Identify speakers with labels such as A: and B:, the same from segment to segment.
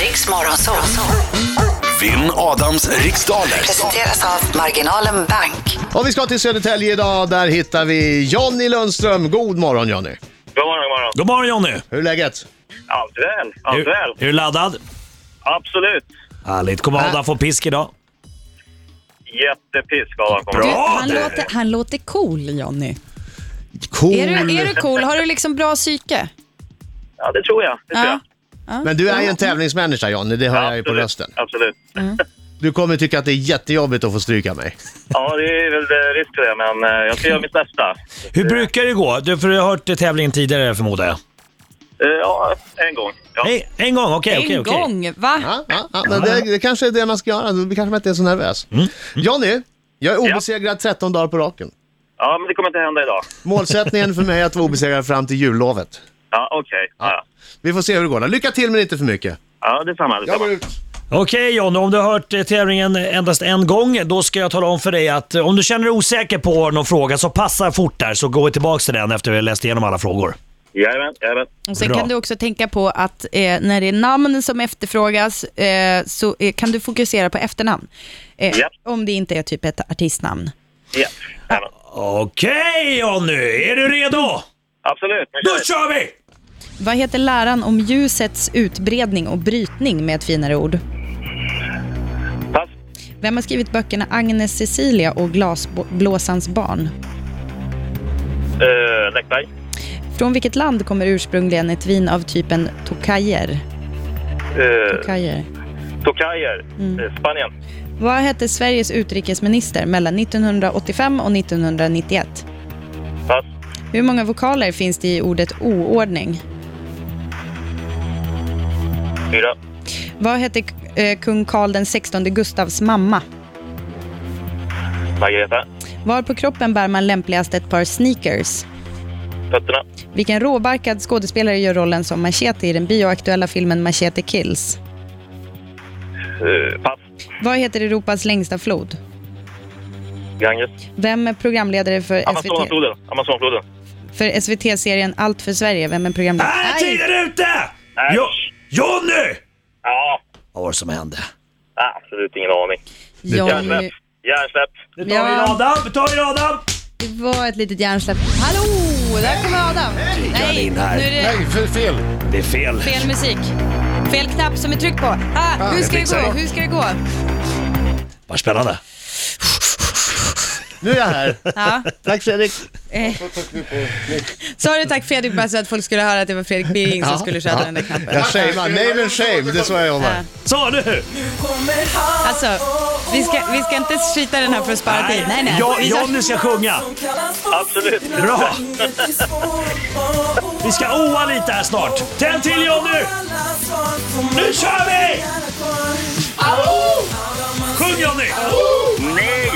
A: Riks så
B: Vinn Adams riksdaler.
A: presenteras av Marginalen Bank.
C: Och vi ska till Södertälje idag. Där hittar vi Jonny Lundström. God morgon Jonny.
D: God morgon, god morgon.
E: God morgon Jonny!
C: Hur är läget?
D: Allt väl, allt
E: Är,
D: väl.
E: är du laddad?
D: Absolut.
E: Härligt. Kommer
C: Äh.
E: Adam få pisk idag?
D: Jättepisk av att komma.
F: Du,
E: Bra.
F: han,
E: det.
F: låter, han låter cool, Jonny.
C: Cool.
F: Är, du,
D: Mm.
F: är du cool? Har du liksom bra psyke?
D: Ja, det tror jag. Det tror jag.
C: Men du är ju en tävlingsmänniska Jonny, det hör jag ju på
D: Absolut,
C: rösten.
D: Absolut.
C: Du kommer tycka att det är jättejobbigt att få stryka mig.
D: Ja, det är väl eh, risk för det, men eh, jag ska göra mitt bästa.
E: Hur brukar det gå? Du, för du har hört tävlingen tidigare förmodar jag?
D: Eh, Ja, en gång. Ja.
E: Nej, en gång? Okej, okej,
F: en
E: okej.
F: gång, va?
C: Ja, ja, ja, men det, det kanske är det man ska göra, då kanske man inte är så nervös.
F: Mm,
C: Jonny, jag är obesegrad 13 dagar på raken.
D: ja, men det kommer inte hända idag.
C: Målsättningen för mig är att vara obesegrad fram till jullovet.
D: Ja, okej. Ja.
C: Vi får se hur det går. då. Lycka till men inte för mycket.
D: Ja, detsamma.
C: Jag
D: detsamma.
C: går ut.
E: Okej Jonny, om du har hört eh, tävlingen endast en gång, då ska jag tala om för dig att eh, om du känner dig osäker på någon fråga så passa fort där så går vi tillbaka till den efter vi har läst igenom alla frågor.
D: Jajamän, jajamän.
F: Och sen
E: Bra.
F: kan du också tänka på att eh, när det är namn som efterfrågas eh, så eh, kan du fokusera på efternamn. Eh,
D: Ja.
F: Om det inte är typ ett artistnamn.
D: Ja, jajamän.
E: Okej Jonny, är du redo?
D: Absolut. nu
E: Då
D: kör vi.
E: kör vi!
F: Vad heter läran om ljusets utbredning och brytning med ett finare ord?
D: Pass.
F: Vem har skrivit böckerna Agnes Cecilia och Glasblåsans barn?
D: Eh, Läckberg.
F: Från vilket land kommer ursprungligen ett vin av typen tokajer?
D: Eh,
F: tokajer.
D: Tokajer. Eh, Spanien.
F: Vad hette Sveriges utrikesminister mellan 1985 och 1991?
D: Pass.
F: Hur många vokaler finns det i ordet oordning?
D: Fyra.
F: Vad hette eh, kung Carl den 16 Gustavs mamma?
D: Margareta.
F: Var på kroppen bär man lämpligast ett par sneakers?
D: Fötterna.
F: Vilken råbarkad skådespelare gör rollen som Machete i den bioaktuella filmen Machete Kills?
D: Eh, pass.
F: Vad heter Europas längsta flod?
D: Ganges.
F: Vem är programledare för SVT?
D: Amazonfloden. Amazonfloden.
F: För SVT-serien Allt för Sverige, vem är programledare?
E: Är
F: Aj!
E: tiden ute?
D: Nej.
E: Jo, Jonny!
D: Ja,
E: Vad var det som hände?
D: absolut ingen aning.
F: Jonny,
D: Hjärnsläpp. Hjärnsläpp.
E: Nu tar vi in
F: Ja.
E: Adam, vi tar in Adam!
F: det var ett litet hjärnsläpp. Hallå, där kommer Adam! Nej,
E: in
F: nu
E: här.
F: är det
C: Nej, för fel.
E: Det är fel.
F: fel musik. Fel knapp som är tryckt på. Ah, hur ska det
E: fixar
F: gå?
E: det.
F: Hur ska det gå?
E: Vad spännande.
C: Nu är jag här.
F: Ja.
C: Tack Fredrik.
F: Sa du tack Fredrik bara så att folk skulle höra att det var Fredrik Birging som skulle köra den där knappen?
C: Jag shamear. Name and shame, det är så jag jobbar.
E: Så nu!
F: Alltså, vi ska, vi ska inte skita den här för att spara tid. Nej, nej.
E: Jo-
F: Vi kör-
E: Jonny ska sjunga.
D: Absolut.
E: Bra! Vi ska oa lite här snart. Tänd till Jonny! Nu kör vi! Sjung Jonny!
D: Nej!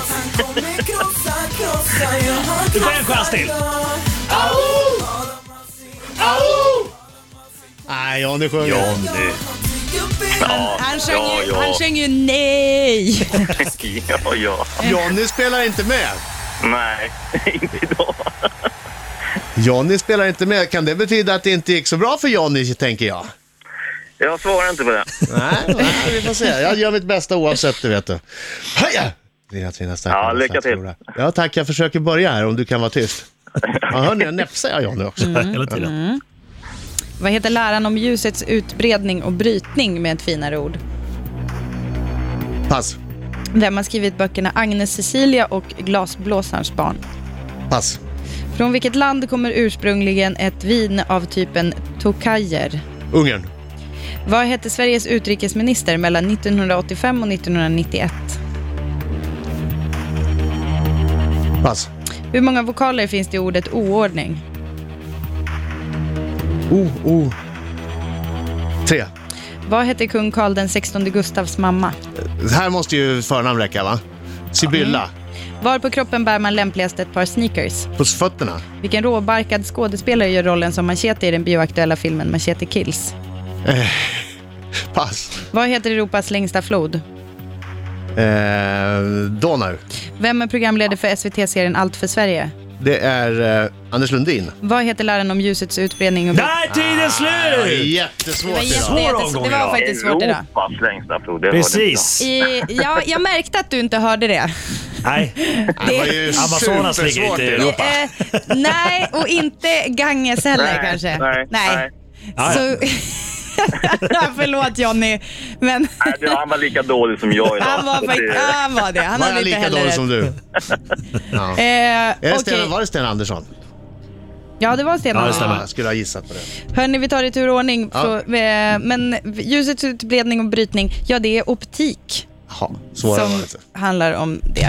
E: Du får en chans till.
C: Nej, Jonny sjunger.
E: Jonny.
F: Han, han, sjöng ju,
D: ja.
F: han sjöng ju nej.
D: Ja, ja.
C: Jonny spelar inte med.
D: Nej, inte idag.
C: Jonny spelar inte med. Kan det betyda att det inte gick så bra för Jonny, tänker jag?
D: Jag svarar inte på det.
C: Nej, nej, vi får se. Jag gör mitt bästa oavsett, det vet du. Heja! Dina fina stackare,
D: Ja, lycka
C: stackars
D: till.
C: stora. Ja, tack. Jag försöker börja här om du kan vara tyst. Ja, hör ni, jag näpsar jag Jonny också.
D: Mm.
E: Hela tiden.
F: Vad heter läran om ljusets utbredning och brytning med ett finare ord?
C: Pass,
F: Vem har skrivit böckerna Agnes Cecilia och Glasblåsarens barn?
C: pass,
F: Från vilket land kommer ursprungligen ett vin av typen tokajer?
C: Ungern.
F: Vad hette Sveriges utrikesminister mellan 1985 och 1991?
C: Pass.
F: Hur många vokaler finns det i ordet oordning?
C: Oh, oh. Tre.
F: Vad hette kung Carl den 16 Gustavs mamma?
C: Det här måste ju förnamn räcka, va? Sibylla.
F: Var på kroppen bär man lämpligast ett par sneakers?
C: På fötterna.
F: Vilken råbarkad skådespelare gör rollen som Machete i den bioaktuella filmen Machete Kills?
C: Pass.
F: Vad heter Europas längsta flod?
C: Eh, Donau. Eh,
F: Vem är programledare för SVT-serien Allt för Sverige?
C: Det är eh, Anders Lundin.
F: Vad heter läran om ljusets utbredning? Och
E: Där är tiden slut!
F: det var
C: Jättesvårt
F: jätte,
C: idag.
E: Svår
F: jättes-
E: omgång
F: det var
E: idag.
F: faktiskt svårt idag.
D: Europas längsta prov. Det
E: Precis.
F: I, ja, jag märkte att du inte hörde det.
E: Nej,
C: Det var ju
E: Amazonas ligger
C: supersvårt
E: inte i
C: idag.
E: Europa.
F: Eh, nej, och inte Ganges heller
D: Nej,
F: kanske.
D: nej, nej.
C: Ah,
F: Så, förlåt Johnny, men
D: Nej, du, han var lika dålig som jag idag.
F: han var, fakt- ja, han var det. Han
C: Var jag
F: hade inte
C: lika
F: heller
C: dålig
F: rätt.
C: som du? ja. Är
F: Eh,
C: det Sten,
F: okej.
C: var det Sten Andersson?
F: Ja, det var Sten
E: Ja, det
F: Andersson.
E: stämmer.
C: Ah, jag skulle ha gissat på det.
F: Hörni, vi tar det i tur och ordning.
C: Ja.
F: Frå- eh, Men ljusets utbredning och brytning, ja det är optik
C: Jaha, svårare var det
F: som
C: inte.
F: handlar om det.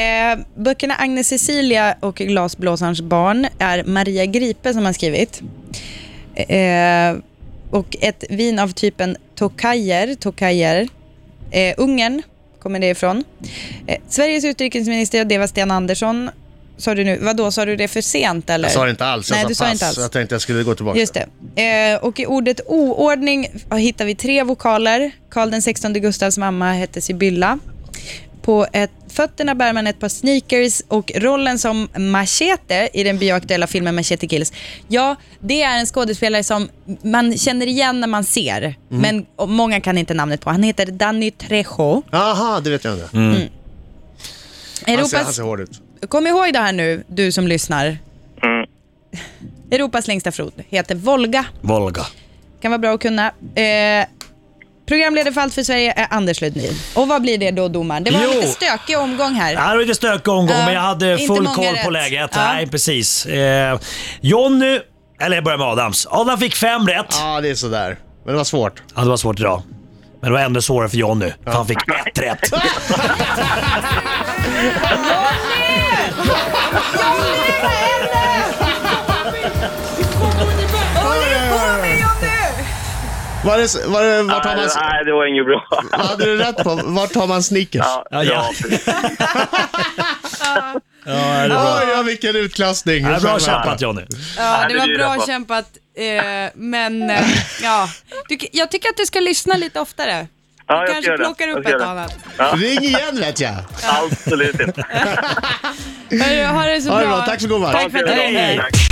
F: Eh, böckerna Agnes Cecilia och Glasblåsarens barn är Maria Gripe som har skrivit. Eh, och ett vin av typen tokajer, tokajer eh, Ungern kommer det ifrån. Eh, Sveriges utrikesminister, det var Sten Andersson. Sa du nu, vadå, sa du det för sent eller?
C: Jag sa det inte alls. Jag
F: Nej,
C: sa
F: du
C: pass.
F: sa inte alls.
C: Jag tänkte jag skulle gå tillbaka.
F: Just det. Eh, och i ordet oordning hittar vi tre vokaler. Karl den 16 Gustavs mamma hette Sibylla. På ett, fötterna bär man ett par sneakers och rollen som Machete i den bioaktuella filmen Machete Kills. Ja, det är en skådespelare som man känner igen när man ser,
C: Mhm.
F: men och många kan inte namnet på. Han heter Danny Trejo.
C: Jaha, det vet jag inte. Han, ser, han
F: Europas,
C: ser hård ut.
F: kom ihåg det här nu, du som lyssnar.
D: Mm.
F: Europas längsta flod heter Volga.
E: Volga.
F: Kan vara bra att kunna. Eh, programledare för Allt för Sverige är Anders Lundin. Och vad blir det då domaren? Det var en
E: Jo.
F: lite stökig omgång
E: Det
F: här.
E: här var lite stökig omgång,
F: Ja,
E: men jag hade
F: inte
E: full
F: många
E: koll på
F: rätt.
E: läget.
F: Ja.
E: Nej, precis. Eh, Jonny, eller jag börjar med Adams. Adam fick fem rätt.
C: Ja, det är sådär. Men det var svårt.
E: Ja, det var svårt idag. Men det var ändå svårare för Jonny, för han fick ett rätt.
C: Var det, var det, vart har
D: Nej,
C: man,
D: nej, det var inget bra.
C: vad hade du rätt på? Vart har man Snickers?
D: Ja,
E: Ja,
D: ja,
E: ja.
D: precis.
C: Oj, ja, vilken utklassning.
E: Ja, bra kämpat Jonny.
F: Ja, det
D: det
F: var
D: blir
F: bra
D: det.
F: kämpat. Eh, men eh, ja, du, jag tycker att du ska lyssna lite oftare.
D: ja,
F: Du
D: jag ska
F: kanske
D: göra det.
F: plockar
D: Jag
F: upp
D: ska
F: ett
D: göra det.
F: annat.
C: Ring igen vet jag.
D: Absolut inte.
F: Hörru, Ha det så
C: Ha det
F: bra.
C: bra. Tack så god match.
F: Tack för att du
E: Hej.
F: kom.
D: Tack.